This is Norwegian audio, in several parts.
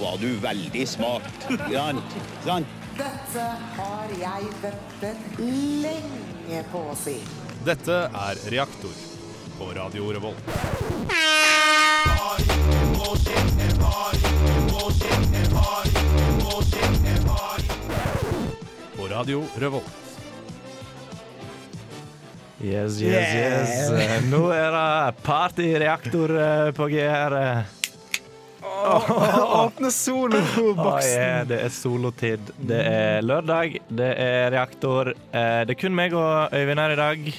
var du veldig smart. Ja, sant? Dette har jeg ventet lenge på å si. Dette er Reaktor på Radio Revolt. På Radio Revolt. Yes, yes, yes. Eh, Nå er det partyreaktor eh, på G her. eh. Åpne Å, soloboksen! ja, eh, det er solotid. Det er lørdag, det er reaktor. Eh, Det er kun meg og Øyvind her i dag.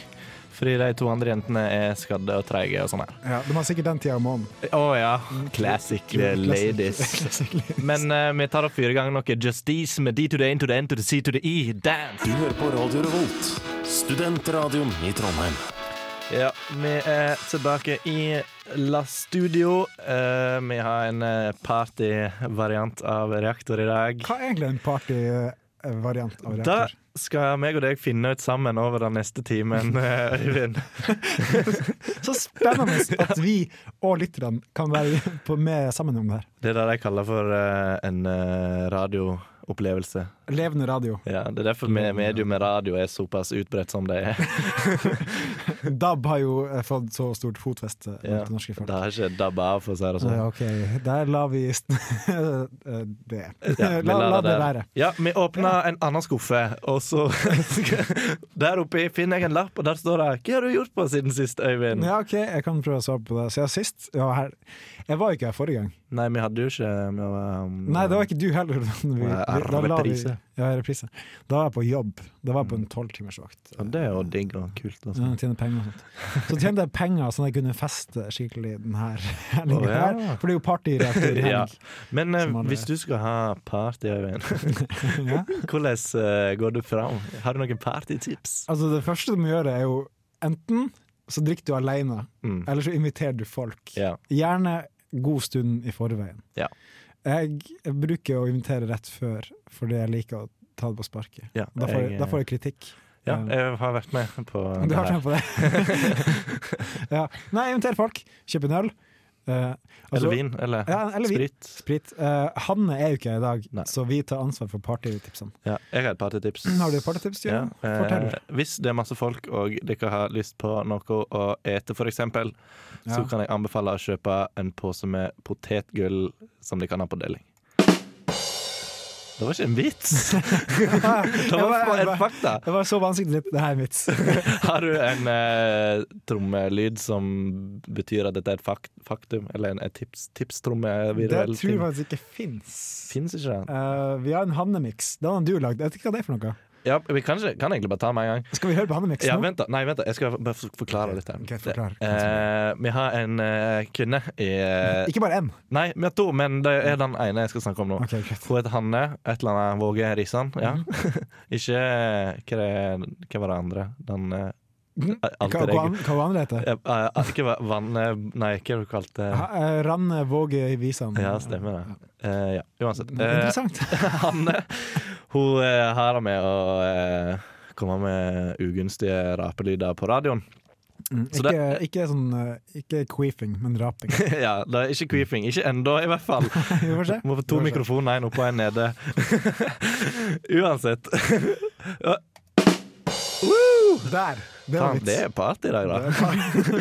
Fordi de to andre jentene er skadde og treige og sånn her. Ja, de har sikkert den tida om måneden. Å ja. Classic eh, ladies. Men eh, vi tar opp fire ganger noe Justice med D to the N to the N to the C to the E. Dance! Du hører på Radio Revolt, studentradioen i Trondheim. Ja, vi er tilbake i La Studio. Eh, vi har en eh, partyvariant av Reaktor i dag. Hva er egentlig en partyvariant av Da reaktor? skal meg og deg finne ut sammen over den neste timen, eh, Øyvind. Så spennende at vi og lytterne kan være på- med sammen om det her. Det er det de kaller for eh, en eh, radioopplevelse. Levende radio. Ja, det er derfor med medium med radio er såpass utbredt som det er. DAB har jo eh, fått så stort fotfeste Ja. blant det norske folk. Det har ikke dabba av, for å si det sånn. Ja, OK, der lar vi st- eh, det. Ja, vi la, lar la det der. være. Ja, vi åpna en annen skuffe, og så Der oppe finner jeg en lapp, og der står det 'Hva har du gjort på siden sist, Øyvind?' Ja, OK, jeg kan prøve å svare på det. Siden sist jeg var her Jeg var ikke her forrige gang. Nei, vi hadde jo ikke vi var, um, Nei, det var ikke du heller. Vi, Nei, da la vi, reprise. ja, reprise. Da var jeg på jobb. Da var jeg på en tolvtimersvakt. Ja, Det er jo digg og kult. Altså. Ja, tjene penger og sånt. Så tjente jeg penger sånn at jeg kunne feste skikkelig den her helgen Å, ja. her. For det er jo partyreaktor i Ja. helg. Men eh, Som alle hvis vet. du skal ha party, Øyvind, Ja. hvordan eh, går du fram? Har du noen partytips? Altså, det første du må gjøre, er jo enten så drikker du alene, Mm. eller så inviterer du folk. Ja. Gjerne god stund i forveien. Ja. Jeg bruker å invitere rett før, fordi jeg liker å ta det på sparket. Ja, Da får jeg, jeg, da får jeg kritikk. Eh, ja, jeg har vært med på Du det har her. tenkt på det? ja. Nei, inviter folk. Kjøp en øl. Eh, altså- Eller vin, eller Ja, eller vin. sprit. Sprit. Eh, Hanne er jo ikke her i dag, Nei. så vi tar ansvar for partytipsene. Ja, jeg har et partytips. Mm, Har du et partytips, Ja, Jørgen? eh, Fortell. hvis det er masse folk og dere har lyst på noe å ete, for eksempel, så Ja. kan jeg anbefale å kjøpe en pose med potetgull som de kan ha på deling. Det var ikke en vits! det Jeg var bare- en fakta! Det var så vanskelig, det her er mitt. Har du en eh, trommelyd som betyr at dette er et fak faktum? Eller en, en tips, Det tror tipstromme-virell jeg ting? faktisk ikke fins. Fins ikke det? Eh, vi har en Hanne-mix. Den har du lagd. Jeg vet ikke hva det er for noe. Ja, vi kan, ikke, kan egentlig bare ta den med en gang. Skal vi høre på Hanne-mixen? Ja, nå? vent da, Nei, vent da, jeg skal bare for- forklare litt her. Ok, forklar. Eh, vi har en eh, kvinne i eh, Ikke bare én. Nei, vi har to, men det er den ene jeg skal snakke om nå. Ok, greit. Mhm. Hun heter Hanne, et eller annet Våge Risan. Ja. ikke eh, hva, det, hva var det andre? Den eh, Mhm. Hva, alter hva, ego. an- hva andre heter det? Eh, eh, Ikke hva- vann... eh, Nei, hva var det du kalte det? Ha- eh, Ranne Våge i Visan. Mm, Ja, stemmer det. Eh, ja, uansett. Eh, Interessant. Hanne hun eh, har det med å eh, komme med ugunstige rapelyder på radioen. så Ikke, ikke sånn eh, Ikke queefing, men raping. ja, det er ikke queefing. Ikke ennå, i hvert fall. Vi får se. Må få to Vi får se. mikrofoner, én oppe og én nede. Uansett. Ja, Der! Det var Faen, det vits. er party i dag, da.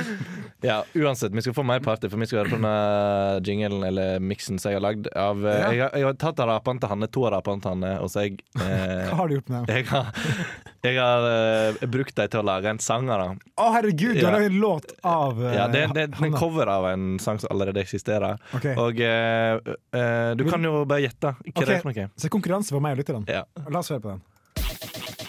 ja, uansett, vi skal få mer party, for vi skal høre på denne jinglen eller miksen som jeg har lagd. Av, eh, Ja. jeg, har- jeg har tatt av rapene til Hanne, to av rapene til Hanne, og så har jeg eh, Hva har du gjort med den? Jeg har, jeg har eh, brukt dem til å lage en sang av. dem. Å, herregud, du har Ja. laget en låt av eh, Ja, det er- det er en Hanna. cover av en sang som allerede eksisterer. Ok. Og eh, eh, du kan jo bare gjette hva det er for Ok, noe. Så konkurranse for meg og lytterne. Ja. La oss høre på den.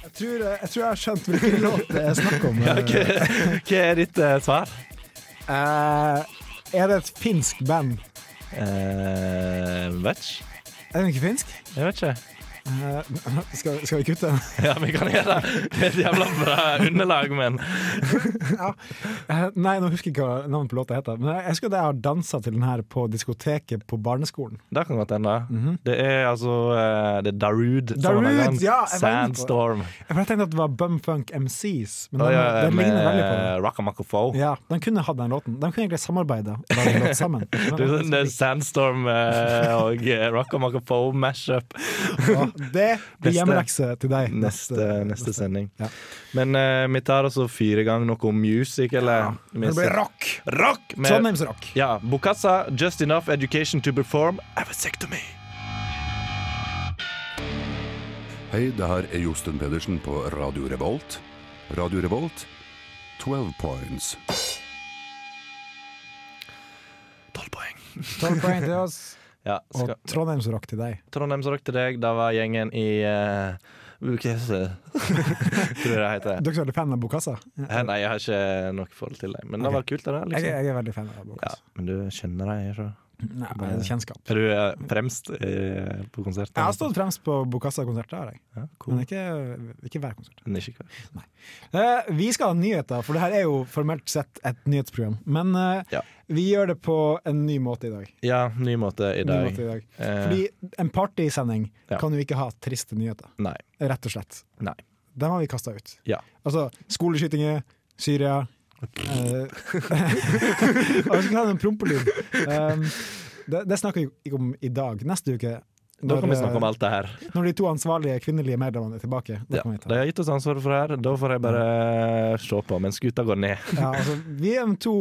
Jeg tror eh, jeg, tror jeg har skjønt hvilken låt det er snakk om. Hva er ditt eh, svar? Eh, er det et finsk band? Eh, vet ikke. Er det ikke finsk? Jeg vet ikke. Eh, skal, skal vi kutte? Ja, vi kan gjøre det. Det er et jævla bra underlag, men ja. Eh, Nei, nå husker jeg ikke hva navnet på låta heter. Men jeg husker at jeg har dansa til den her på diskoteket på barneskolen. Det kan godt hende. Det er altså eh, Det er Darude. som Mhm. Darude, har laget den. ja, jeg var inne på det. Sandstorm. Jeg bare tenkte at det var Bumfunk MCs, men Og, den, ja, den ligner veldig på den. med Rockamacofo. Ja, De kunne hatt den låten. De kunne egentlig samarbeida. og lagd en låt sammen. Men Det er det sånn det er Sandstorm eh, og eh, Rockamacofo mashup. blir Neste- hjemmelekse til deg. Neste, neste sending. Ja. Men eh, vi tar også fire ganger noe om music, eller? Det blir rock! rock! med- Trondheimsrock. Ja. Bokassa, Just Enough Education to Perform, Avasectomy. Hei, det her er Josten Pedersen på Radio Revolt. Radio Revolt, 12 points. Tolv poeng. Tolv poeng til oss, Ja, og skal, Trondheimsrock til deg. Trondheimsrock til deg. Da var gjengen i eh, Bukesse, eh, tror jeg det heter. Dere som er fan av Bokassa? Hæ, Nei, jeg har ikke noe forhold til deg, men det var kult. det der, Jeg, liksom. jeg er veldig fan av Ja, Bokassa. men du kjenner deg ikke? Nei, det er kjennskap. Er du eh, fremst eh, på konsert? Jeg har stått fremst på Bokassa-konsert, det har jeg. Ja, Men cool. ikke, ikke hver konsert. Men ikke hver. Eh, vi skal ha nyheter, for det her er jo formelt sett et nyhetsprogram. Men eh, Ja. vi gjør det på en ny måte i dag. Ja, ny måte i Ny dag. måte i dag. Eh. Fordi en partysending Ja. kan jo ikke ha triste nyheter, Nei. rett og slett. Nei. Dem har vi kasta ut. Ja. Altså skoleskytinger, Syria eh, Og Vi skal ha en prompelyd. Um, det, det snakker vi ikke om i dag. Neste uke, Da når, kan vi snakke om alt det her. eh, når de to ansvarlige kvinnelige medlemmene er tilbake, da Ja. kan De vi ta det. har gitt oss ansvaret for det her. Da får jeg bare se på mens gutta går ned. Ja, altså, vi er de to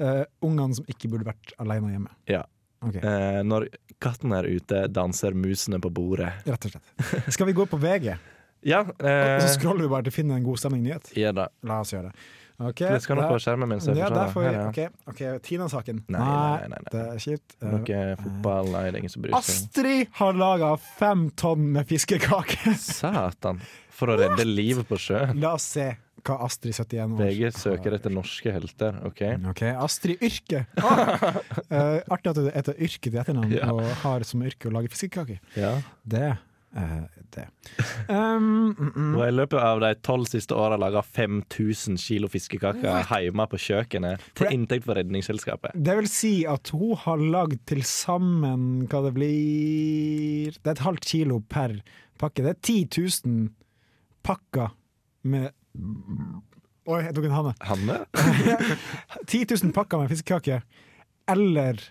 eh, ungene som ikke burde vært alene hjemme. Ja. Ok, Eh, når katten er ute, danser musene på bordet. Rett og slett. Skal vi gå på VG, Ja, og eh, så scroller vi bare til å finne en god stemning-nyhet? ja da. La oss gjøre det. Ok, Det skal nok der- på skjermen min. så jeg Ja, får der se får det. vi, Her, ja. ok, ok, Tina-saken. Nei, nei, nei, nei, nei. det er kjipt. Eh, Noe fotball Nei, det er ingen som bryr seg. Astrid har laga fem tonn med fiskekaker! Satan! For å redde livet på sjøen. La oss se hva Astrid 71 år VG søker etter norske helter, OK? Ok, Astrid Yrke. Ah! Eh, artig at du heter Yrke til etternavn Ja. og har som yrke å lage fiskekaker. Ja. Det. eh, det. Um, mm, mm. Og i løpet av de tolv siste åra laga 5000 kilo fiskekaker hjemme på kjøkkenet til inntekt for Redningsselskapet. Det vil si at hun har lagd til sammen hva det blir Det er et halvt kilo per pakke. Det er 10 000 pakker med Oi, jeg tok en hane. Hanne? 10 000 pakker med fiskekaker. Eller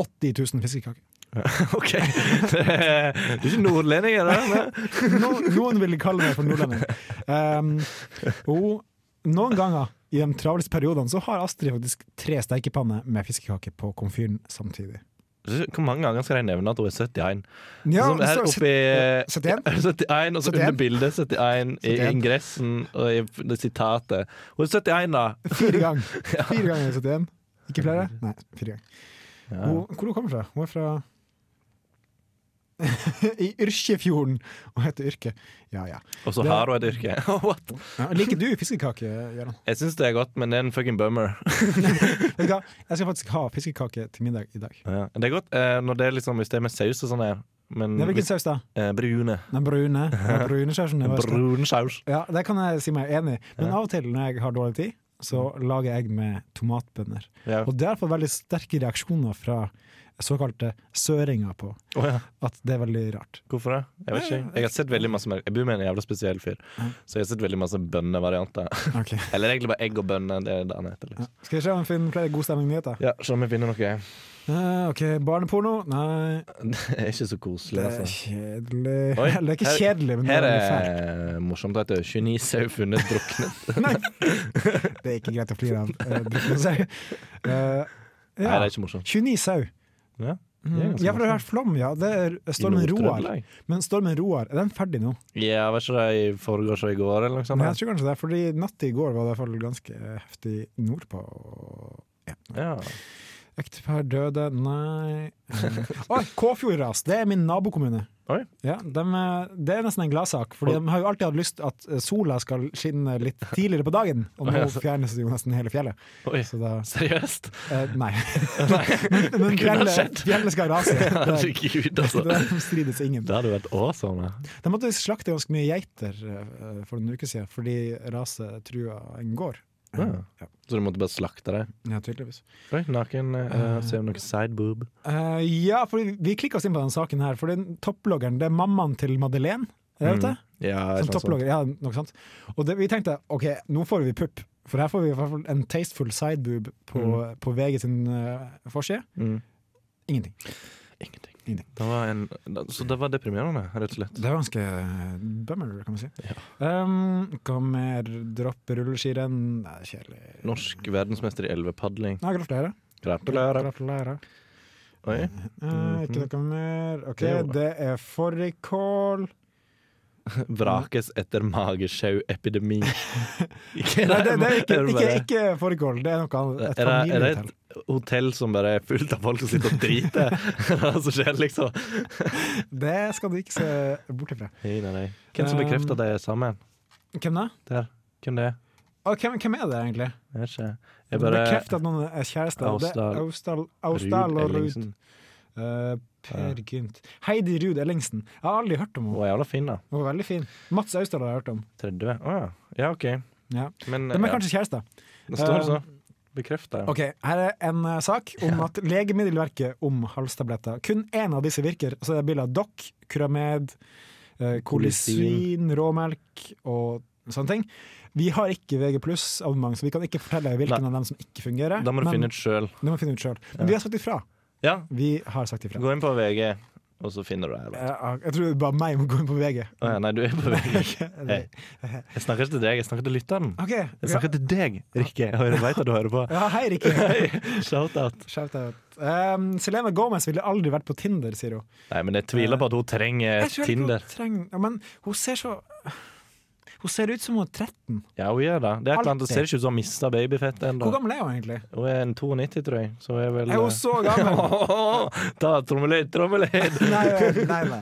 80 000 fiskekaker. OK. Det er- Du er ikke nordlending, er du? Noen, noen vil kalle meg for nordlending. Um, hun- noen ganger i de travleste periodene så har Astrid faktisk tre stekepanner med fiskekaker på komfyren samtidig. Hvor mange ganger skal jeg nevne at hun er 71? Ja, Sånn, her så- oppe i 71? 71, og så 71. under bildet 71 i 71. ingressen og i f- det sitatet. Hun er 71, da! Fire ganger. Fire ganger er 71. Ikke flere? Nei, fire ganger. Hun, hvor hun kommer fra? Hun er fra I Yrkjefjorden og heter Yrke. Ja, ja. Og så Det- har hun et yrke. What? ja liker du fiskekake, Gøran? Jeg syns det er godt, men det er en fucking bummer. Vet du hva? Jeg skal faktisk ha fiskekake til middag i dag. Ja. Det er godt eh, når det er liksom, hvis det er med saus og sånn her, men Nei, hvilken hvis, saus, da? eh, brune. Den brune? Den brune sausen? er best. Brun saus. Ja, det kan jeg si meg enig i. Men av og til når jeg har dårlig tid, så lager jeg med tomatbønner. Ja. Og det har fått veldig sterke reaksjoner fra såkalte søringer på Å ja. at det er veldig rart. Hvorfor det? Jeg vet ikke. Jeg har sett veldig masse mer- Jeg bor med en jævla spesiell fyr, så jeg har sett veldig masse bønnevarianter. Ok. Eller egentlig bare egg og bønner. Det er det han heter. Liksom. Skal vi se om vi finner flere god stemning-nyheter? Ja, Se om vi finner noe. Eh, ok, Barneporno? Nei, Det er ikke så koselig, det er altså. kjedelig Oi, Eller det er ikke her- kjedelig, men det er Her veldig fælt. er morsomt at det er 29 sau funnet druknet. Det er ikke greit å flire av. eh, drukne sau. Eh, Nei, det ja. er ikke morsomt. 29 sau. Ja, det er Mm. ganske Ja, for det har vært flom, ja. Det er stormen Roar. Nord-Trøndelag. Men stormen Roar, er den ferdig nå? Ja, var ikke det i forgårs og i går, eller noe sånt? Men jeg tror kanskje det, fordi natt i går var det i hvert fall ganske eh, heftig nordpå. og- Ja. Ja. Ektepar døde, nei eh. Oi, Kåfjordras! Det er min nabokommune. Oi. Ja, de, eh, det er nesten en gladsak, Fordi de har jo alltid hatt lyst at eh, sola skal skinne litt tidligere på dagen, og nå fjernes jo nesten hele fjellet. Oi, Så da seriøst? eh, Nei. men men kunne ha fjellet, skjedd. fjellet skal rase. Det, Herregud, det, altså. det strides ingen. Det hadde vært awesome. De måtte slakte ganske mye geiter eh, for noen uker siden fordi raset trua en gård. Ja. Så du måtte bare slakte deg? Ja, tydeligvis. Oi, naken. eh, se om noe sideboob. Eh, ja, for vi klikka oss inn på denne saken her, for den topploggeren det er mammaen til Madeleine. Er det vet du? Ja, sånn, Som sånn. topplogger, ja, noe sånt. Og det, vi tenkte ok, nå får vi pupp, for her får vi i hvert fall en tasteful sideboob på, på VG sin eh, forside. Mm. Ingenting. Ingenting. Ingenting. Det var en, så det var deprimerende, rett og slett. Det er ganske eh, bummer, kan man si. Um, hva mer? Droppe rulleskirenn? Nei, Kjedelig. Norsk verdensmester i elvepadling. Nei, gratulerer. Gratulerer. Gratulerer. Oi. Eh, ikke noe mer. OK, Det er jo- det er fårikål. Vrakes etter magesjau-epidemi. Nei, det, det er ikke, ikke, ikke fårikål, det er noe annet. Et Er det, er det familiehotell. et hotell som bare er fullt av folk som sitter og driter? Det er det som skjer, liksom. Det skal du ikke se bort ifra. Hei, nei, nei. Hvem som bekrefter at de er sammen? Hvem da? Der. Hvem det er? Og hvem, hvem er det, egentlig? Jeg vet ikke. Jeg bare Bekreft at noen er kjærester. Det er Austdal Austdal Ruud og Ruud. Ellingsen. Eh, Per Gynt. Heidi Ruud Ellingsen. Jeg har aldri hørt om Hun henne. er jævla fin, da. Hun var veldig fin. Mats Austdal har jeg hørt om. 30. Å ja. Ja, OK. Ja. Men De er ja. kanskje kjærester. det står så. Bekrefta. Ok, Her er en eh, sak om at legemiddelverket om halstabletter Kun én av disse virker. Så det er bilder av Doc, Curamed, uh, Kolisyn, råmelk og sånne ting. Vi har ikke VG abonnement, så vi kan ikke fortelle hvilken Nei. av dem som ikke fungerer. Da må du men- finne ut sjøl. det må vi finne ut selv. Men vi har sagt ifra. Ja, Vi har sagt ifra. gå inn på VG, og så finner du det. her, da. Jeg, jeg tror det er bare meg må gå inn på VG. Å ja, nei, du er på VG. Hei. Jeg snakker ikke til deg, jeg snakker til lytteren. OK. Jeg Ja, snakker til deg, Rikke. Jeg veit at du hører på. ja, hei, Rikke. Shout-out. Shout-out. Um, Selena Gomez ville aldri vært på Tinder, sier hun. Nei, men jeg tviler på at hun trenger Jeg tror ikke Tinder. Hun trenger, ja, men hun ser så Hun ser ut som hun er 13. Ja, hun gjør det. Det er et eller annet, det ser Alltid. ikke ut som hun har mista babyfett Hvor ennå. gammel er hun egentlig? Hun er en 92, tror jeg. Så hun er vel Er hun eh, så gammel? Ta trommelyd, trommelyd! Nei, nei, nei.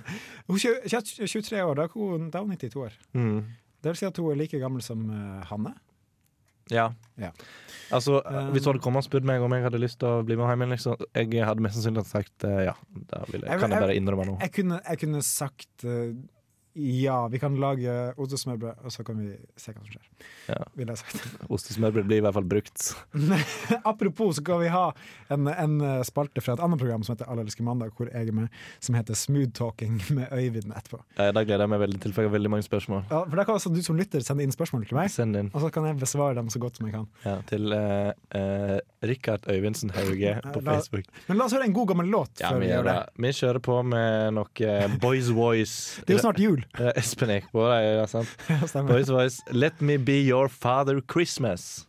Hun er tjue- tjue- 23 år, da er hun, da er hun 92 år. Mm. Det vil si at hun er like gammel som eh, Hanne. Ja. Ja. Altså, hvis du hadde kommet og spurt meg om jeg hadde lyst til å bli med hjem igjen, liksom, jeg hadde mest sannsynlig sagt eh, ja. Da vil jeg, kan jeg bare innrømme nå. Jeg kunne, jeg kunne sagt eh, ja, vi kan lage ostesmørbrød, og så kan vi se hva som skjer. Ja. Ville jeg sagt. Ostesmørbrød blir i hvert fall brukt. Apropos, så skal vi ha en, en eh, spalte fra et annet program som heter Alle elsker mandag, hvor jeg er med, som heter Smooth Talking med Øyvind etterpå. Eh, Da gleder jeg meg veldig til, for jeg har veldig mange spørsmål. Ja, for da kan altså du som lytter sende inn spørsmål til meg, Send inn og så kan jeg besvare dem så godt som jeg kan. ja, til eh, eh, Rikard Øyvindsen Hauge på Eh, La- Facebook. Men la oss høre en god gammel låt Ja, før vi, vi gjør det. vi kjører på med noe eh, Boys Voice. Det er jo snart jul. Eh, Espen Eckbo, det er sant. Stemmer. Boys Voice, Let Me Be Your Father Christmas.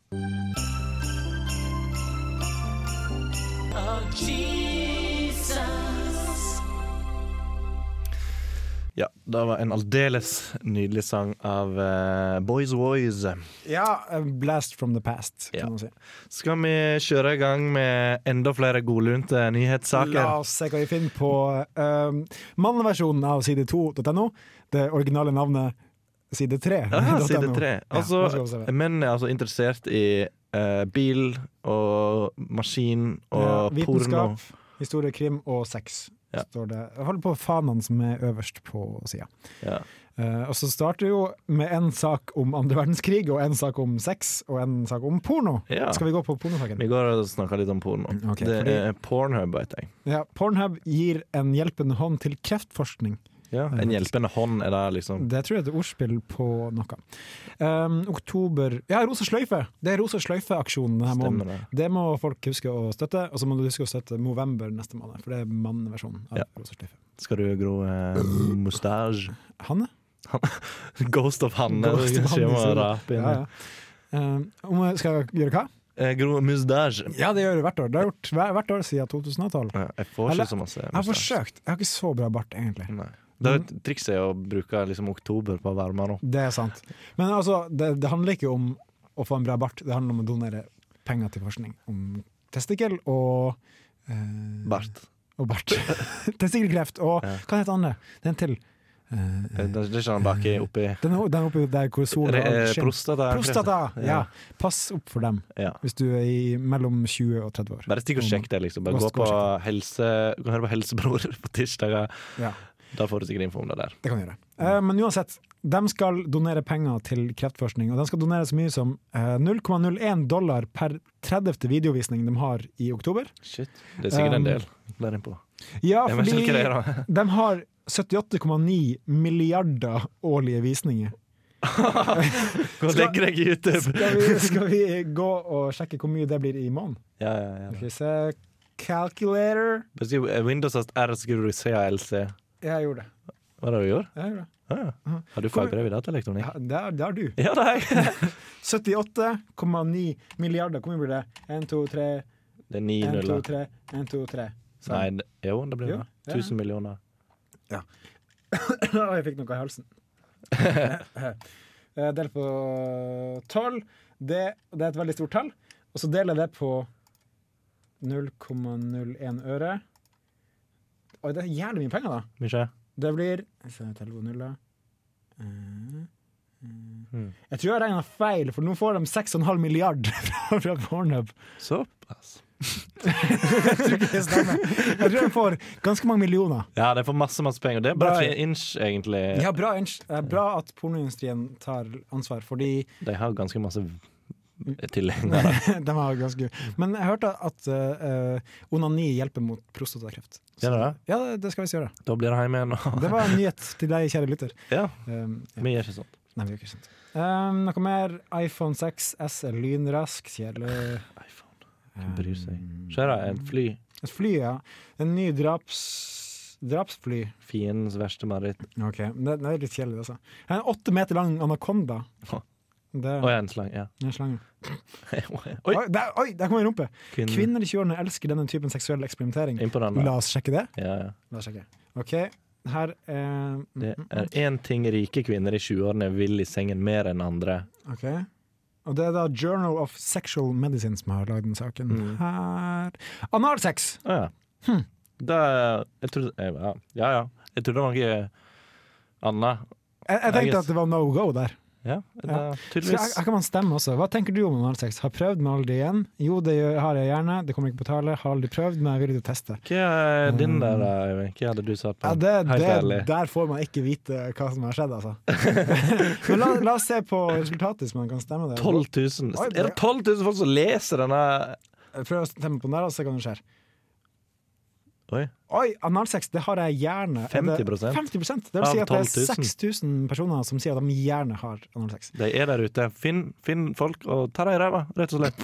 Ja, det var en aldeles nydelig sang av eh, Boys Voice. Ja, a blast from the past, kan Ja. man si. Skal vi kjøre i gang med enda flere godlunte La nyhetssaker? oss se hva vi finner på um, manneversjonen av side2.no. Det originale navnet side 3. Ja, side tre. Altså, menn er altså interessert i eh, bil og maskin og porno. vitenskap, historie, krim og sex. Ja. Står det. Jeg holder på fanene som er øverst på sida. Ja. Eh, og så starter vi jo med en sak om andre verdenskrig, og en sak om sex, og en sak om porno. Ja. Skal vi gå på pornosaken? Vi går og snakker litt om porno. Mm, Ok, det fordi- er Pornhub, vet jeg. Ja, Pornhub gir en hjelpende hånd til kreftforskning. Mm. En hjelpende hånd er det, liksom. Det tror jeg er et ordspill på noe. Um, oktober Ja, Rosa sløyfe! Det er Rosa sløyfe-aksjonen denne Stemmer måneden. Det. må folk huske å støtte. Og så må du huske å støtte Movember neste måned, for det er manneversjonen av Ja. Rosa sløyfe. Skal du gro eh, mustasje? Hanne? Ghost of Hanne. Ghost of Hanne, Hanne sier du. rap inn. Ja, ja. Um, om jeg skal gjøre hva? Eh, gro mustasje. Ja, det gjør du hvert år. Det har jeg gjort hver- hvert år siden 2012. Ja, Jeg får Eller- ikke så masse Jeg Mm. har mustasje. forsøkt. Jeg har ikke så bra bart, egentlig. Nei. Det er et triks er å bruke liksom, oktober på å varme nå. Det er sant. Men altså, det, det handler ikke om å få en bra bart, det handler om å donere penger til forskning om testikkel og eh, Bart. og bart. Testikkelkreft og hva heter den andre? Den til. Eh, Det det er ikke han baki oppi Den er, den er oppe der hvor sola Re- eh, skinner. prostata. Prostata! Ja. Ja. Pass opp for dem Ja. hvis du er i mellom 20 og 30 år. Bare stikk og sjekk det, liksom. Bare Gå gå og på sjekk helse Du kan høre på Helsebror på tirsdager. Mm. Ja, Da får du sikkert info om det der. det kan du gjøre. Eh, men uansett, de skal donere penger til kreftforskning, og de skal donere så mye som eh, 0,01 dollar per 30. videovisning de har i oktober. Shit. Det er sikkert Um, en del der inne på. Ja, Jeg vet fordi ikke hva det er, de har 78,9 milliarder årlige visninger. Gå og skal- legg deg i YouTube! Skal vi, skal vi gå og sjekke hvor mye det blir i måneden? Ja, ja, ja. Skal vi se Calculator. Beskriv eh, Windows at R skriver du CALC. Jeg gjorde det. Hva er det du gjorde? Jeg gjorde det. Ah, ja. har du fagprøve i dataelektronikk? Ja, det, er, det er du. Ja, nei! 78,9 milliarder. Hvor mye blir det? 1, 2, 3, Det er ni 1, 2, nuller. 3, 1, 2, 3. Nei, det- jo, det blir Jo, det. ja. 1000 millioner. Å, jeg fikk noe i halsen. Eh, Del på 12. Det, det er et veldig stort tall. Og så deler jeg det på 0,01 øre. Oi, det er jævlig mye penger, da. Mykje? Det blir Jeg ser et elleve nuller. Eh, eh. Jeg tror jeg regna feil, for nå får de 6,5 milliard fra, fra Pornhub. Såpass. Det stemmer. Jeg tror de får ganske mange millioner. Ja, de får masse, masse penger. Det er bra Bra. for Inch, egentlig. Ja, bra, ins- eh, bra at pornoindustrien tar ansvar, fordi De har ganske masse tilhengere. de har ganske Men jeg hørte at eh, eh, onani hjelper mot prostatakreft. Gjør det det? Ja, det- det skal vi gjøre. Da blir det hjemme igjen. og- Det var en nyhet til deg, kjære lytter. Ja, Um, ja. vi gjør ikke sånt. Nei, vi gjør ikke sant. Um, noe mer? iPhone 6S er lynrask, kjedelig. iPhone. Hvem bryr seg? Se da, et fly. Et fly, ja. En ny draps... drapsfly. Fiendens verste mareritt. Ok, det, det er litt kjedelig, altså. En åtte meter lang anakonda. Å. Det Å ja, en slang. Ja. er en slange. Oi! Oi, der, oi, der kom en rumpe! Kvinne. Kvinner i 20-årene elsker denne typen seksuell eksperimentering. Imponerende. La oss sjekke det. Ja, ja. La oss sjekke. Ok, her er Det er én ting rike kvinner i 20-årene vil i sengen mer enn andre. Ok. Og det er da Journal of Sexual Medicine som har lagd den saken. Mm. Her Analsex! Å ja. Hm. Da Jeg trodde eh, Ja ja. ja. Jeg trodde det var noe annet. Jeg, jeg guess. tenkte at det var no go der. Ja, da, Så her, tydeligvis. her kan man stemme også. Hva tenker du om analsex? Har prøvd, men aldri igjen? Jo, det gjør, har jeg gjerne. Det kommer ikke på tale. Har aldri prøvd, men jeg er villig til å teste. Hva er din der, da, Øyvind? Hva hadde du satt på? Mm. Ja, det, Helt det, ærlig. der får man ikke vite hva som har skjedd, altså. men la, la oss se på resultatet, hvis man kan stemme det. 12 000. Oi, det- Er det 12 000 folk som leser denne Prøv å stemme på den der, og se hva som skjer. Oi. Oi, analsex, det har jeg gjerne. Er det- 50%? 50%. Det vil si Av at det er 12 000. 6000 personer som sier at de gjerne har analsex. De er der ute. Finn, finn folk og ta dem i ræva, rett og slett.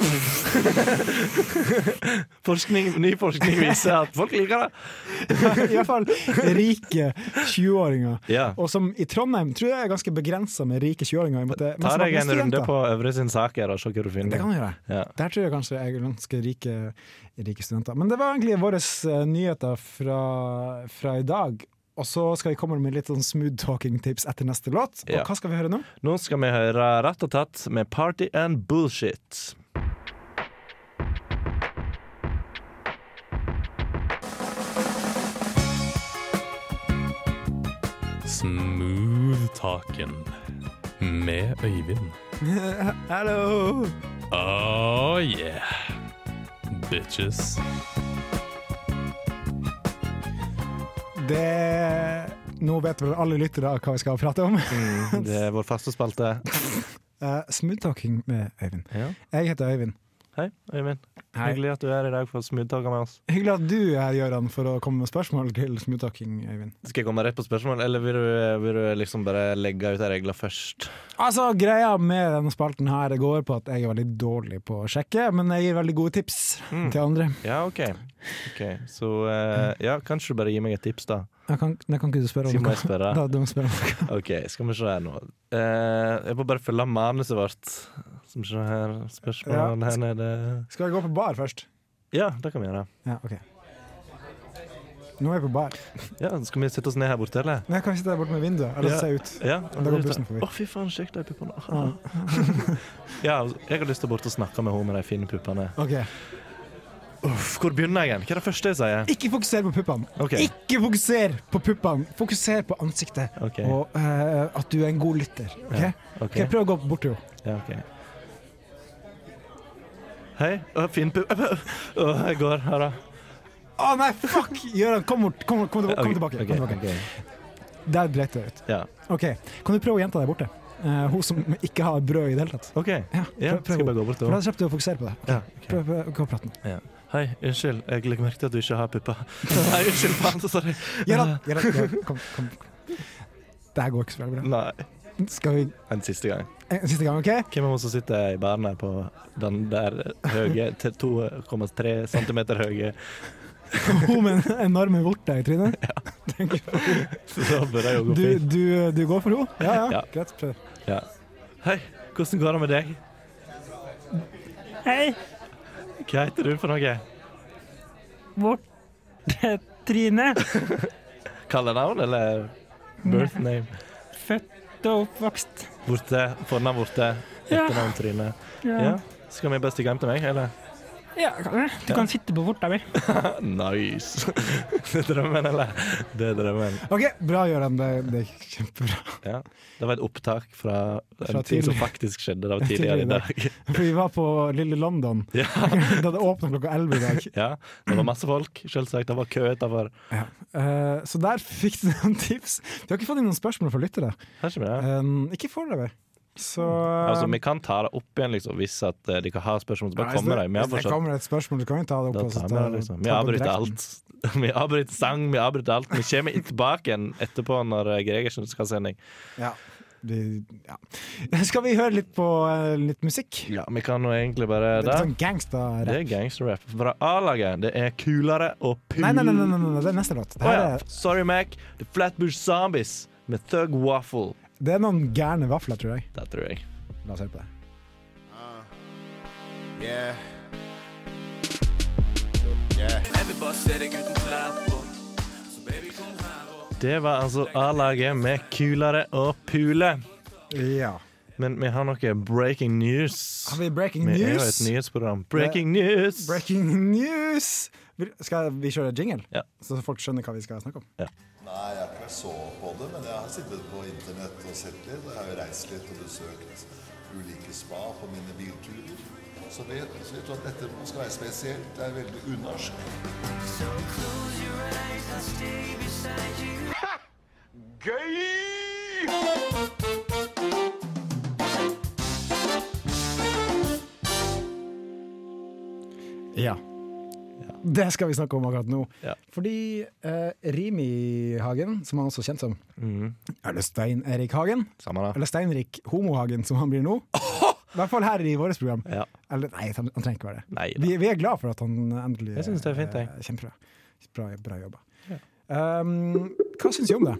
forskning, ny forskning viser at folk liker det. I hvert fall rike 20-åringer. Ja. Og som i Trondheim tror jeg er ganske begrensa med rike 20-åringer. i og med at det er Ta masse deg en runde studenter. på Øvre sin saker og se hva du Det finner. kan vi gjøre. Ja. Der tror jeg kanskje jeg er ganske rike, rike studenter. Men det var egentlig våre eh, nyheter fra, fra i dag. Og så skal vi komme med litt sånn smooth talking-tips etter neste låt. Og Ja. hva skal vi høre nå? Nå skal vi høre Rett og tatt med Party and Bullshit. Smooth talken med Øyvind. Hallo! Oh yeah, bitches. Det Nå vet vel alle lyttere hva vi skal prate om. Mm. Det er vår faste spalte. Eh, smooth talking med Øyvind. Ja. Jeg heter Øyvind. Hei, Øyvind. Hei. Hyggelig at du er her i dag for smoothtalka med oss. Hyggelig at du er her, Gøran, for å komme med spørsmål til smooth talking, Øyvind. Skal jeg komme rett på spørsmål, eller vil du, vil du liksom bare legge ut regler først? Altså, Greia med denne spalten her går på at jeg er veldig dårlig på å sjekke, men jeg gir veldig gode tips Mm. til andre. Ja, OK. Ok, Så eh, ja, kanskje du bare gir meg et tips, da? Jeg kan, nei, kan ikke du spørre om Skal noe? jeg spørre? Da, du må spørre om noe. OK, skal vi se her nå. Eh, jeg må bare følge manuset vårt. Skal vi se her Spørsmål her nede. Skal jeg gå på bar først? Ja, det kan vi gjøre. Ja, OK. Nå er jeg på bar. Ja, Skal vi sette oss ned her borte, eller? Men jeg kan sitte der borte med vinduet. Eller Ja. se ut. Ja, Da går bussen forbi. Å, fy faen, sjekk de puppene. ja, jeg har lyst til å bort og snakke med henne med de fine puppene. OK. Uff, hvor begynner jeg igjen? Hva er det første jeg sier? Ikke fokuser på puppene! Ok. Ikke fokuser på puppene! Fokuser på ansiktet Ok. og eh, at du er en god lytter. Ok? ok. Ok, prøv å gå bort til henne. Ja, ok. Hei, å, fin pupp Å, Jeg går her, da. Å nei, fuck! Gjøran, kom bort. Kom, kom, tilbake, kom tilbake. Ok, Kom tilbake. Der dreit jeg ut. Ja. Ok, Kan du prøve jenta der borte? Eh, hun som ikke har brød i det hele tatt. OK. Ja, Ja, prøv- prøv skal jeg bare henne. gå bort For da og slipper du å fokusere på det. ja, ok. Prøv, prøv, gå og prat med ja. Hei, unnskyld. Jeg legger merke til at du ikke har pupper. Nei, unnskyld, faen, så sorry. Gjøran, Gjøran, Gjøran, kom, kom. Det her går ikke så veldig bra. Nei. Skal vi En siste gang. En siste gang, OK? Hvem av oss som sitter i baren her på den der høye til 2,3 cm høye Hun med den enorme vorta i trynet. Så bør jeg jo gå Du, fint. du, du går for henne? Ja, ja. Ja. Greit. Prøv. Ja. Hei, hvordan går det med deg? Hei, Hva heter du for noe? vårt eh, Trine. Kallenavn eller birth name? Født og oppvokst. Borte. Fornavn borte. Ja. Etternavn Trine. Ja. Skal vi bare stikke hjem til meg, eller? Ja, kan jeg. Du kan sitte på vorta mi. Nice. Det er drømmen, eller? Det er drømmen. OK, bra, Gøran. Det, det gikk kjempebra. Ja. Det var et opptak fra Fra en ting som tidlig- faktisk skjedde da tidligere tidligere i i dag. For vi var på Lille London. Ja. Det hadde åpna klokka elleve i dag. ja. Det var masse folk, selvsagt. Det var kø utenfor. Eh, så der fikk du noen tips. Vi har ikke fått inn noen spørsmål fra lyttere. Har ikke vi det? Um, ikke foreløpig. Så Altså, vi kan ta det opp igjen liksom, hvis at eh, dere har spørsmål. Så Nei, bare hvis kommer de. Vi har det- Hvis det fortsatt kommer et spørsmål, så kan vi ta det opp. da og så tar vi ta- det, liksom. Vi ta det avbryter direkten. alt. Vi avbryter sang, vi avbryter alt. Vi kommer tilbake igjen etterpå når eh, Gregersen skal ha sending. Ja. Vi- ja. Skal vi høre litt på eh, litt musikk? Ja, vi kan jo egentlig bare Det det. er sånn gangster Det er gangsterrap fra A-laget. Det er kulere og pul... Nei, nei, nei, nei, nei, nei, det er neste låt. Det, Å her ja. er, Sorry, Mac. The Flatbush Zombies med Thug Waffle. det er noen gærne vafler, tror jeg. Det tror jeg. La oss høre på det. Yeah. Yeah. Det var altså A-laget med kulere og pule. Ja. Men vi har noe breaking news. Har vi breaking Vi er jo et news? nyhetsprogram. Breaking news! Breaking news! Vil- Skal vi kjøre jingle, Ja. så folk skjønner hva vi skal snakke om? Nei, jeg har ikke så på det, men jeg har sittet på internett og sett litt. og Jeg har jo reist litt og besøkt ulike spa på mine bilturer. Så vet, så vet du at dette skal være spesielt. Det er veldig unorsk. Ja. Det skal vi snakke om akkurat nå. Ja. Fordi eh, Rimi Hagen, som han også er kjent som, eller Stein-Erik Hagen, Samme da. eller Steinrik Homohagen, som han blir nå I hvert fall her i vårt program. Ja. Eller nei, han, han trenger ikke være det. Nei da. vi, vi er glad for at han endelig Jeg synes det er fint, jeg. eh, Kjempebra. Bra, bra jobba. Um, hva syns vi om det?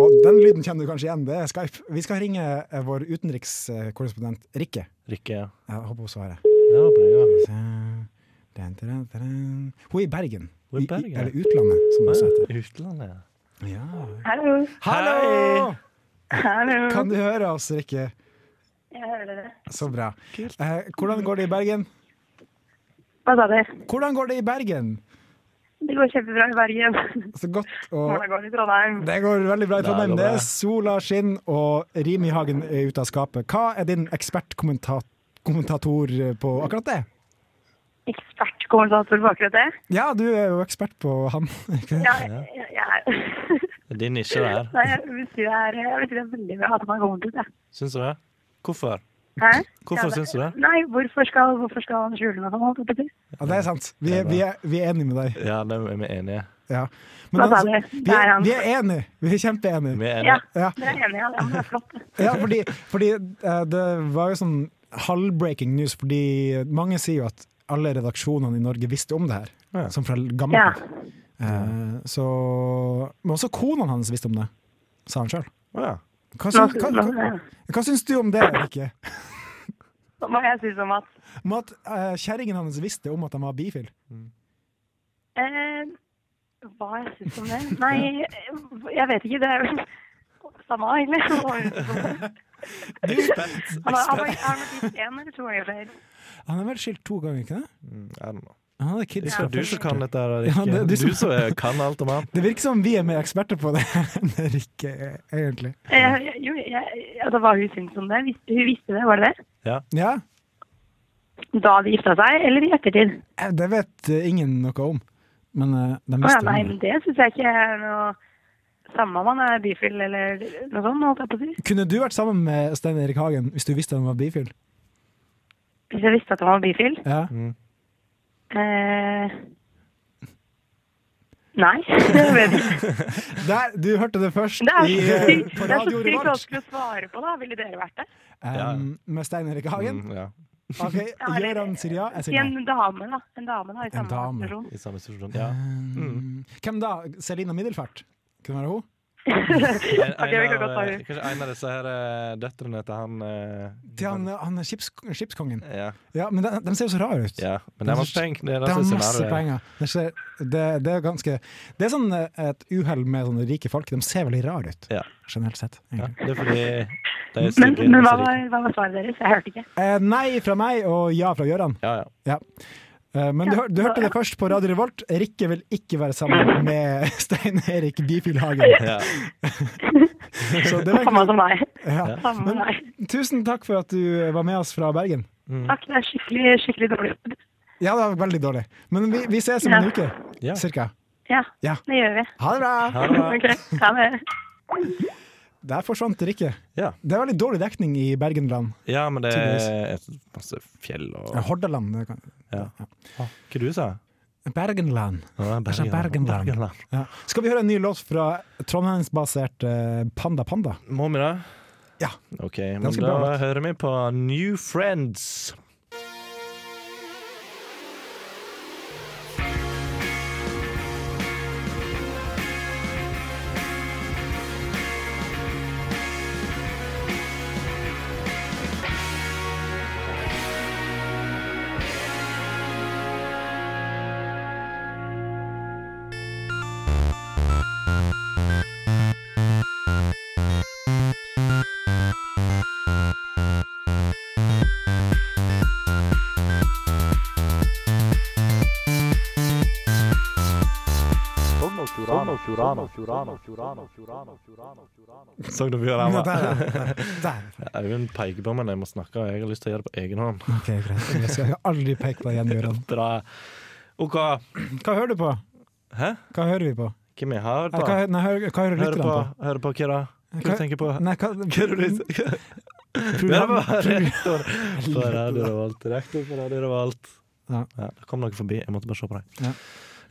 Og den lyden kjenner du kanskje igjen, det er Skype. Vi skal ringe eh, vår utenrikskorrespondent Rikke. Rikke, ja. Jeg håper hun svarer. ja, bra, ja. Dun, dun, dun. Hun er i Bergen. Hun er i Bergen, ja. eller utlandet, som det også heter. Utlandet, ja. Ja. Hallo. Hallo! Hallo. Kan du høre oss, Rikke? Jeg hører dere. Så bra. Eh, hvordan går det i Bergen? Hva sa du? Hvordan går det i Bergen? Det går kjempebra i Bergen. Så godt å Hvordan går det i Trondheim? Det går veldig bra i Trondheim. Det går Det bra. er sola skinn, og Rimi Hagen er ute av skapet. Hva er din ekspertkommentator på akkurat det? Ekspertkommentator på akkurat det? Ja, du er jo ekspert på han. ikke det? Ja, jeg, jeg er Det er din nisje der. Nei, jeg vil si det er, jeg vil si det er veldig bra at man kommer dit, jeg. Syns du det? Hvorfor? Hæ? Hvorfor Ja, det- syns du det? Nei, hvorfor skal, hvorfor skal han skjule noe sånt? holdt jeg på å si? Ja, det er sant. Vi er, vi er, vi er enige med deg. Ja, det er vi enige. Ja. Hva sa altså, du? vi, Det er, er han. vi er enige. Vi er Vi kjempeenige. er Ja, enige. Ja. det er jeg enig i. Ja, men det er flott. det. Ja, fordi, fordi eh, det var jo sånn halv-breaking news, fordi mange sier jo at alle redaksjonene i Norge visste om det her, Ja. som fra gammelt Ja. av. Eh, så, men også konene hans visste om det, sa han sjøl. Å, ja. Hva, Nå, syns- hva, nå, hva, hva syns du om det, Rikke? nå må jeg si som at Om at uh, kjerringen hans visste om at han var bifil? eh, Hva jeg syns om det? Nei, jeg vet ikke. Det er vel samme, egentlig. Hva jeg synes om det. Han har, han har, han har vært gift en eller to ganger før. Han er vel skilt to ganger, ikke det? I don't know. Han hadde kids Det fra er du som først. kan dette, her, Ja, Rikke. det er du du som- som eh, kan alt om alt. Det virker som vi er mer eksperter på det enn Rikke, er, egentlig. Eh, jo, jeg, ja, da var hun syntes om det. Visste- Hun visste det, var det det? Ja, Da de gifta seg, eller i ettertid? eh, det vet eh, ingen noe om. Men eh, de Å ja, visste nei, om men det. det syns jeg ikke er noe Samme om man er bifil eller noe sånt, holdt jeg på å si. Kunne du vært sammen med Stein Erik Hagen hvis du visste han var bifil? Hvis jeg visste at han var bifil. Ja. Mm. Eh, nei, det vet jeg ikke. Der, du hørte det først Det er i, så eh, sykt- på det er så Radio sykt Revolt vanskelig å svare på, da. Ville dere vært det? Ja. um, med Stein Erik Hagen. Mm, ja, Ok, eller- Gjøran sier ja, jeg Si sier nei. en dame, da. En dame da, i samme dame. situasjon. I samme situasjon. Ja. Mm. Um, Hvem da? Selina Middelfart? Kunne være hun? En, en Ok, vi kan av, godt ta eh, det. kanskje en av disse her eh, døtrene til han eh, Til han, han er skips, skipskongen. Ja, Ja, men de, de ser jo så rare ut. ja. Men det er masse penger. Det er Det det har som er masse scenarioet. penger. Det, ser, det, det er ganske Det er sånn eh, et uhell med sånne rike folk. De ser veldig rare ut, Ja. generelt sett. Ja, egentlig. det er fordi det er Men, sikkert- men hva, sikkert- var, hva var svaret deres? Jeg hørte ikke. Eh, nei fra meg og ja fra Gøran. Ja, ja. Eh, men du, hør- du hørte det først på Radio Revolt. Rikke vil ikke være sammen med Stein Erik Bifilhagen. ja. Så det var Samme egentlig, som meg. ja. Samme som Men- meg. Tusen takk for at du var med oss fra Bergen. Takk, det er skikkelig, skikkelig dårlig. Ja, det var veldig dårlig. Men vi, vi ses om en Ja. uke, Ja. cirka. Ja, Ja. det gjør vi. Ha det bra! Ha det bra. Ok, ha det. Der forsvant Rikke. Ja. Det er veldig dårlig dekning i Bergenland. ja, men det er Tydeligvis. et- masse fjell og Eh, Hordaland. det kan- ja. Hva du sa Bergenland. Ja, sa sånn Bergenland. Ja. Skal vi høre en ny låt fra trondheimsbasert eh, Panda Panda? Må vi det? Ja. OK, men Ganske da bra låt. hører vi på New Friends. Sogn og Ja, Fjordane. der, ja. der. Øyvind peker på meg når jeg må snakke, og jeg har lyst til å gjøre det på egen hånd. Ok, greit. Jeg skal aldri peke på deg igjen, Gøran. Bra. OK, Hva hører du på? Hæ? Hva hører vi på? hvem jeg har Nei, på? hva, hø- nei, hører- hva hører Hører lytterne på, på? hører på hva da? Hva Hva- du tenker på? Nei, hva, Hva er det du Hva program, er det rektor på Radio Revolt? Rektor på Radio Revolt. Ja. Ja. det kom noen forbi. Jeg måtte bare se på deg. Ja.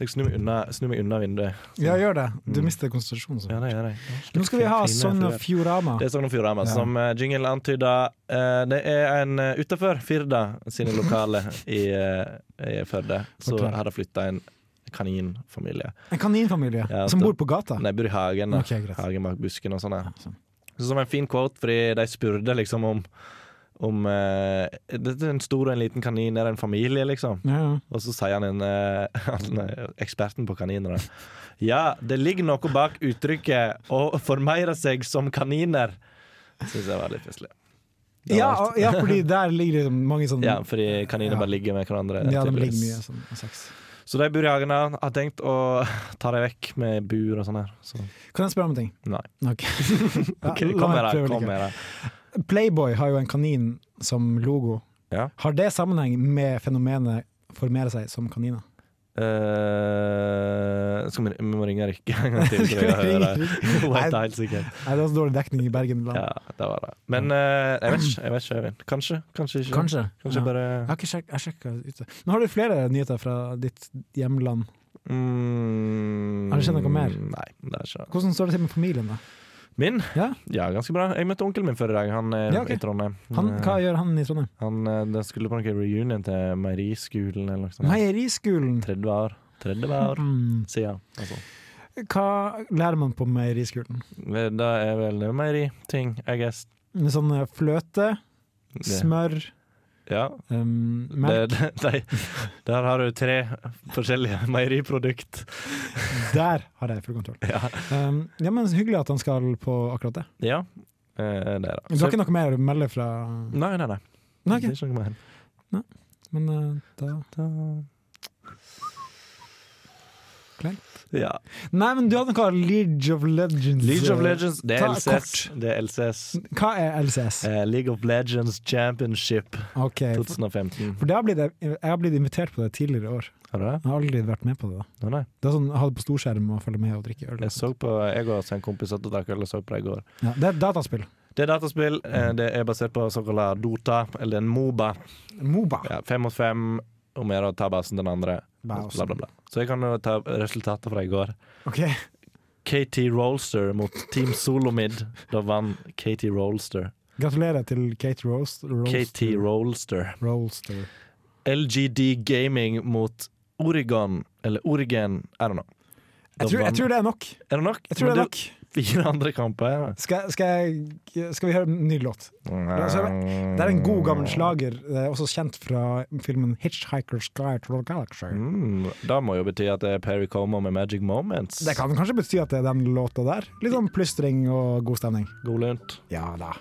Jeg snur meg unna, snur meg unna vinduet. Ja, gjør det. Du mister konsentrasjonen. Mm. Ja, så. det gjør jeg. Nå skal vi ha Fine Sogn og fyrer. Fjordama. Det er Sogn og Fjordane, Ja. som eh, jingle antyda. eh, Det er en eh, utenfor Firda sine lokaler i, eh, i Førde. Så Fortell. har det flytta en kaninfamilie. En kaninfamilie Ja, som det- bor på gata. Nei, jeg bor i hagen. da. Ok, greit. hagen bak busken og sånn. ja. sånn. Så som en fin quote, fordi de spurte liksom om om eh, Dette er en stor og en liten kanin, er det en familie, liksom? Ja, ja. Og så sier han, en, eh, han eh, eksperten på kaniner da. Ja, det ligger noe bak uttrykket 'å formeire seg som kaniner'. Syns jeg var litt festlig. Det Ja, var alt. og- ja, fordi der ligger det mange sånne ja, fordi kaniner Ja. bare ligger med hverandre. Ja, de ligger tydeligvis. mye sånn og sex. Så de bor i hagen der. Har tenkt å ta dem vekk med bur og sånn her. Så Kan jeg spørre om en ting? nei. Ok. Ja, Ok, la kom meg her, da, prøve kom likevel. her. da. Playboy har jo en kanin som logo. Ja. Har det sammenheng med fenomenet formere seg som kaniner? Eh, skal vi, vi må ringe Rikke en gang til, så Skal vi vi kan høre. ringe Hun vet det helt sikkert. Nei, det er så dårlig dekning i Bergen. Land. Ja, det var det. Men eh, jeg vet ikke, jeg vet ikke, Øyvind. Kanskje, kanskje ikke. Kanskje. Kanskje ja. bare Jeg har ikke sjek jeg sjekket ut det. Men har du flere nyheter fra ditt hjemland? mm, Har det skjedd noe mer? Nei, det er ikke det. Hvordan står det til med familien, da? Min? Ja. ganske bra. Jeg møtte onkelen min før i dag, han er Ja, ok. i Trondheim. Han, Eh, hva gjør han i Trondheim? han eh, den skulle på noen reunion til meieriskolen eller noe sånt. Meieriskolen! 30 år. 30 år Mm. siden. Altså. Hva lærer man på meieriskolen? Det er vel meieriting, I guess. Sånn eh, fløte, Det- smør, Ja, um, melk Det, det, nei, der har du tre forskjellige meieriprodukt. Der har jeg full kontroll. Ja. Um, ja, men Hyggelig at han skal på akkurat det. ja. eh, Det er det. Du har ikke noe mer å melde fra Nei, nei, nei. Nei, ok. Det er ikke noe mer. Men eh, da Da Kleint. Ja. Nei, men du hadde noe League of Legends. League of Legends, det er Ta LCS. kort. Det er LCS. Hva er LCS? Eh, League of Legends Championship Ok, for- 2015. for det har blitt, jeg har blitt invitert på det tidligere i år. Har du det? Jeg har aldri vært med på det. da Nei, nei. Det er sånn, Ha det på storskjerm og følge med og drikke øl. Jeg så på jeg og en kompis satt og drakk øl og så på det i går. Ja, det er et dataspill. Det er dataspill. eh, Det er basert på såkalla Dota, eller en Moba. Moba. Ja, fem mot fem, om jeg da tar basen den andre. Bra, Bla, bla, bla. Så jeg kan jo ta resultatet fra i går. Ok, Katie Rolster mot Team Solomid. Da vant Katie Rolster. Gratulerer til Kate Roast, Roaster. Katie Rolster. Roaster. LGD Gaming mot Oregon, eller Origen, I don't know. Da Jeg tror, jeg vant- tror det er nok. Er det nok? Jeg tror det er Men nok. Fire andre kamper. Skal, skal, jeg, skal vi høre en ny låt? oss høre. Det er en god gammel slager, det er også kjent fra filmen 'Hitchhiker's Guide to the Galaxy'. Mm, da må jo bety at det er Perry Como med Magic Moments. Det kan kanskje bety at det er den låta der. Litt sånn plystring og god stemning. God lunt. Ja da.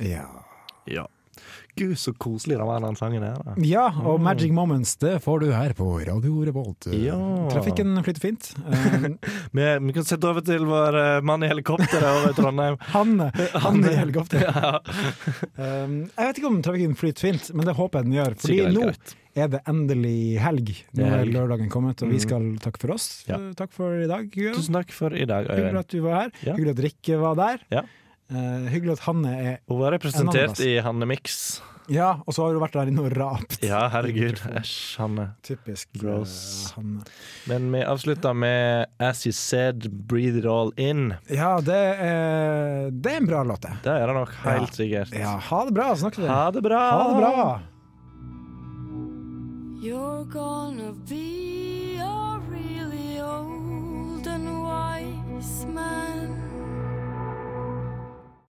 Ja. Ja. Gud, så koselig det var den sangen her. Da. ja, og Magic Moments det får du her på Radio Revolt. Ja. Trafikken flyter fint. Eh, Vi, vi kan sette over til vår eh, mann i helikopteret over i Trondheim. Hanne, Hanne i helikopter. Ja. Um, jeg vet ikke om trafikken flyter fint, men det håper jeg den gjør. Fordi Sikkert helt nå greit. er det endelig helg. Det Nå er er helg. Mm. lørdagen kommet, og vi skal takke for oss. Ja. Uh, Takk for i dag. Jørgen. Tusen takk for i dag, Hyggelig Øyvind. at du var her. Ja. Hyggelig at Rikke var der. Ja. Uh, hyggelig at Hanne er Hun var En annen representert plass. i Hanne Mix. Ja, og så har hun vært der inne og rapt. Ja, herregud. Æsj, Hanne. Typisk uh, Gross. Hanne. Men vi avslutter med As You Said, Breathe It All In. Ja, det er, det er en bra låt, det. Det er det nok helt sikkert. Ja, ha det bra, snakkes vi. Ha det bra! Ha det bra. You're gonna be a really old and wise man.